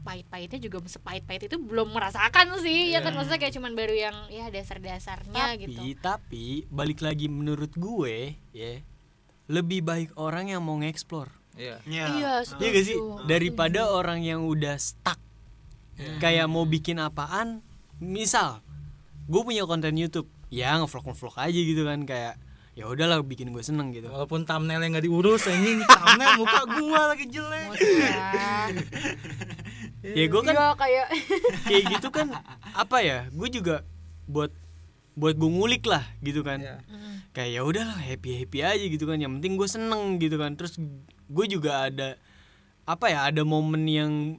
Speaker 3: pahit-pahitnya juga sepahit-pahit itu belum merasakan sih ya kan maksudnya kayak cuman baru yang ya dasar-dasarnya
Speaker 1: tapi
Speaker 3: gitu
Speaker 1: tapi balik lagi menurut gue ya lebih baik orang yang mau nge-explore
Speaker 2: Iya.
Speaker 4: Iya.
Speaker 3: setuju.
Speaker 1: Iya gak sih? Daripada
Speaker 3: Setuju.
Speaker 1: orang yang udah stuck
Speaker 3: Iya.
Speaker 1: Kayak mau bikin apaan Misal Gue punya konten Youtube Ya ngevlog-ngevlog aja gitu kan Kayak ya udahlah bikin gue seneng gitu
Speaker 2: Walaupun thumbnailnya nggak diurus, ini thumbnail muka gua lagi jelek.
Speaker 3: Musuhan.
Speaker 1: ya gue kan
Speaker 3: Iya kayak
Speaker 1: kayak gitu kan apa ya gue juga buat buat gue ngulik lah gitu kan
Speaker 2: Iya.
Speaker 1: kayak ya udahlah happy happy aja gitu kan yang penting gue seneng gitu kan terus gue juga ada apa ya ada momen yang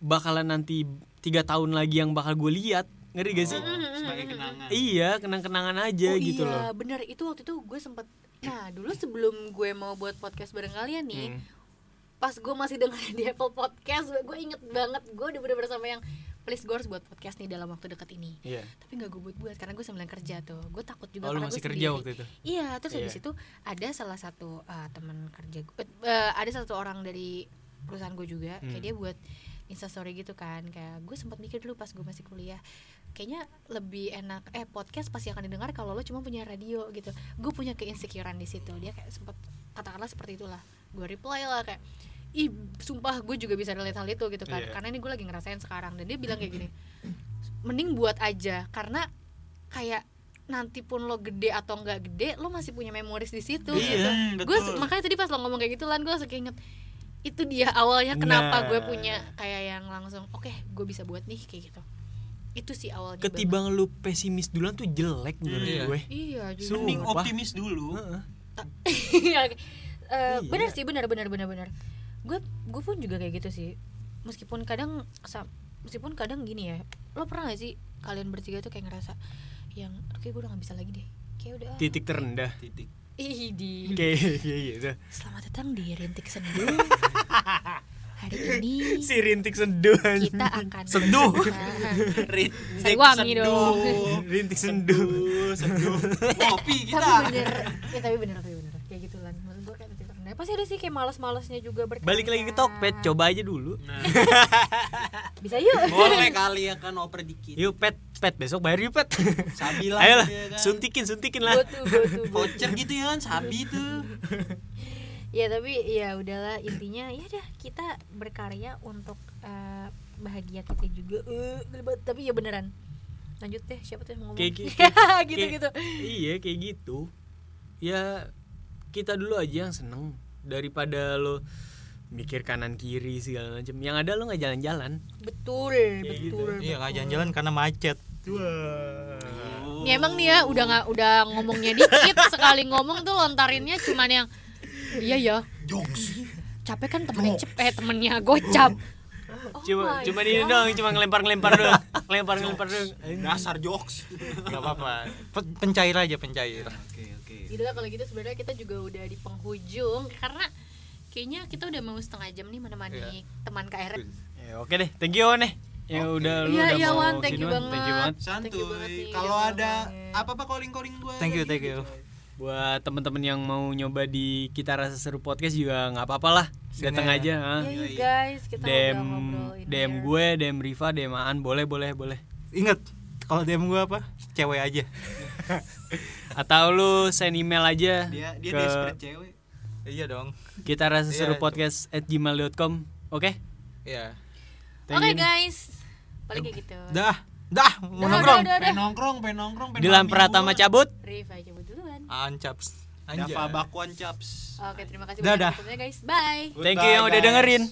Speaker 1: bakalan nanti tiga tahun lagi yang bakal gue lihat ngerti gak sih
Speaker 4: sebagai kenangan
Speaker 1: iya kenang kenangan aja
Speaker 3: Oh
Speaker 1: gitu
Speaker 3: iya,
Speaker 1: loh
Speaker 3: bener itu waktu itu gue sempet Nah dulu sebelum gue mau buat podcast bareng kalian nih
Speaker 1: Hmm.
Speaker 3: Pas gue masih dengerin di Apple Podcast Gue inget banget Gue udah bener-bener sama yang Please gue harus buat podcast nih dalam waktu dekat ini
Speaker 1: iya
Speaker 3: Tapi gak gue buat-buat karena gue sambil kerja tuh Gue takut
Speaker 1: oh,
Speaker 3: juga
Speaker 1: lu
Speaker 3: karena
Speaker 1: masih
Speaker 3: gue
Speaker 1: kerja
Speaker 3: sendiri.
Speaker 1: waktu itu
Speaker 3: Iya, terus habis
Speaker 1: Iya.
Speaker 3: itu ada salah satu eh, teman kerja gue, eh, ada satu orang dari perusahaan gue juga, kayak
Speaker 1: Hmm.
Speaker 3: dia buat instastory gitu kan, kayak gue sempat mikir dulu pas gue masih kuliah, kayaknya lebih enak eh podcast pasti akan didengar kalau lo cuma punya radio gitu, gue punya keinsecurean di situ, dia kayak sempat katakanlah seperti itulah, gue reply lah kayak ih sumpah gue juga bisa relate hal itu gitu kan,
Speaker 1: Iya.
Speaker 3: karena ini gue lagi ngerasain sekarang dan dia bilang kayak gini, mending buat aja karena kayak nanti pun lo gede atau nggak gede lo masih punya memoris di situ
Speaker 1: Iya,
Speaker 3: gitu.
Speaker 4: Hmm,
Speaker 3: gue
Speaker 4: betul.
Speaker 3: makanya tadi pas lo ngomong kayak gitu lan gue langsung inget itu dia awalnya kenapa
Speaker 1: Nah.
Speaker 3: gue punya kayak yang langsung oke gue bisa buat nih kayak gitu itu sih awalnya
Speaker 1: ketimbang lu pesimis duluan tuh jelek menurut
Speaker 2: Iya.
Speaker 1: gue
Speaker 3: banget. iya juga
Speaker 1: Sumpah.
Speaker 4: mending optimis dulu
Speaker 1: Heeh.
Speaker 3: Iya, oke. Eh,
Speaker 1: Iya.
Speaker 3: benar sih benar benar benar benar gue gue pun juga kayak gitu sih meskipun kadang sa- meskipun kadang gini ya lo pernah gak sih kalian bertiga tuh kayak ngerasa yang kayak gue udah gak bisa lagi deh kayak udah
Speaker 1: titik terendah
Speaker 4: titik
Speaker 3: ih di
Speaker 1: kayak kayak gitu
Speaker 3: Selamat datang di Rintik Sendu. Hari ini
Speaker 1: si rintik sendu
Speaker 3: kita akan
Speaker 2: Sendu.
Speaker 4: rit
Speaker 3: Sariwangi dong.
Speaker 1: rintik sendu
Speaker 4: seduh kopi
Speaker 3: tapi
Speaker 4: kita
Speaker 3: bener, ya tapi bener tapi bener. Ya gitu lan. Maksud gue kayak titik rendah. Pasti ada sih kayak malas-malasnya juga berkarya.
Speaker 1: balik lagi ke Tokped coba aja dulu
Speaker 4: Nah,
Speaker 3: Bisa yuk.
Speaker 4: boleh kali ya kan oper dikit
Speaker 1: yuk pet pet besok bayar yuk pet
Speaker 4: sabi lah
Speaker 1: ayolah
Speaker 4: gitu ya kan.
Speaker 1: suntikin suntikin lah
Speaker 3: Go to, go to, go to.
Speaker 4: voucher gitu ya kan sabi tuh
Speaker 3: Ya tapi ya udahlah intinya ya dah kita berkarya untuk eh, bahagia kita juga. Eh, gelebat. tapi ya beneran. Lanjut deh siapa tuh yang ngomong?
Speaker 1: Kayak- gitu, kayak-
Speaker 3: gitu-gitu.
Speaker 1: iya kayak gitu ya kita dulu aja yang seneng daripada lo mikir kanan kiri segala macam yang ada lo nggak jalan-jalan
Speaker 3: Betul,
Speaker 1: Kayak gitu.
Speaker 3: betul.
Speaker 2: Iya, nggak
Speaker 3: betul.
Speaker 2: jalan-jalan karena macet.
Speaker 3: Nih emang nih ya udah nggak udah ngomongnya dikit sekali ngomong tuh lontarinnya cuman yang iya ya. Capek kan temennya cep eh temennya gocap. Oh
Speaker 1: cuma
Speaker 3: my
Speaker 1: cuma ini
Speaker 3: God.
Speaker 1: doang cuma ngelempar ngelempar doang ngelempar ngelempar doang
Speaker 4: dasar jokes
Speaker 2: Gak apa-apa. Pe- Pencair aja pencair.
Speaker 4: oke oke
Speaker 3: Gitu lah kalau gitu sebenarnya kita juga udah di penghujung karena kayaknya kita udah mau setengah jam nih menemani
Speaker 2: Iya.
Speaker 3: teman KR.
Speaker 1: ya, oke deh thank you Wan eh ya
Speaker 4: Oke.
Speaker 1: udah lu
Speaker 3: Iya
Speaker 1: udah
Speaker 3: iya
Speaker 1: mau
Speaker 3: Wan, thank you
Speaker 1: sini, Wan.
Speaker 3: banget.
Speaker 1: thank you banget
Speaker 3: Thank you banget Iya, nih,
Speaker 4: santuy kalau
Speaker 3: udah
Speaker 4: ada
Speaker 3: ngomongin.
Speaker 4: apa apa calling calling gue
Speaker 2: Thank you, thank
Speaker 4: gitu.
Speaker 2: you.
Speaker 1: buat temen-temen yang mau nyoba di kita rasa seru podcast juga nggak apa-apa lah
Speaker 2: Sini
Speaker 1: datang
Speaker 2: aja.
Speaker 1: aja ah.
Speaker 3: Iya yuk guys, kita
Speaker 1: DM
Speaker 3: ngobrol-ngobrol ya. in
Speaker 1: DM
Speaker 3: here.
Speaker 1: gue, DM Riva, DM Aan, boleh boleh boleh.
Speaker 2: Ingat, kalau DM gue apa? Cewek aja.
Speaker 1: Atau lu send email aja
Speaker 4: dia dia
Speaker 1: ke
Speaker 4: desperate cewek
Speaker 2: Iya dong.
Speaker 1: kita rasa seru
Speaker 2: Iya, itu.
Speaker 1: podcast at gmail.com. Oke?
Speaker 2: Iya.
Speaker 3: Oke
Speaker 1: Thank you.
Speaker 3: guys. Paling kayak gitu.
Speaker 2: Dah, dah, mau
Speaker 3: Dah,
Speaker 2: nongkrong.
Speaker 3: dah, dah,
Speaker 4: pengen
Speaker 3: dah.
Speaker 4: nongkrong pengen nongkrong pengen
Speaker 1: Dilan
Speaker 4: mabing
Speaker 1: Pratama
Speaker 4: duluan.
Speaker 1: cabut.
Speaker 3: Riva coba duluan.
Speaker 2: Ancaps.
Speaker 4: Dava bakwan caps
Speaker 3: Oke, terima kasih
Speaker 2: Dadah.
Speaker 3: banyak waktunya guys. Bye.
Speaker 1: Thank you yang
Speaker 4: Goodbye,
Speaker 1: udah
Speaker 4: guys.
Speaker 1: dengerin.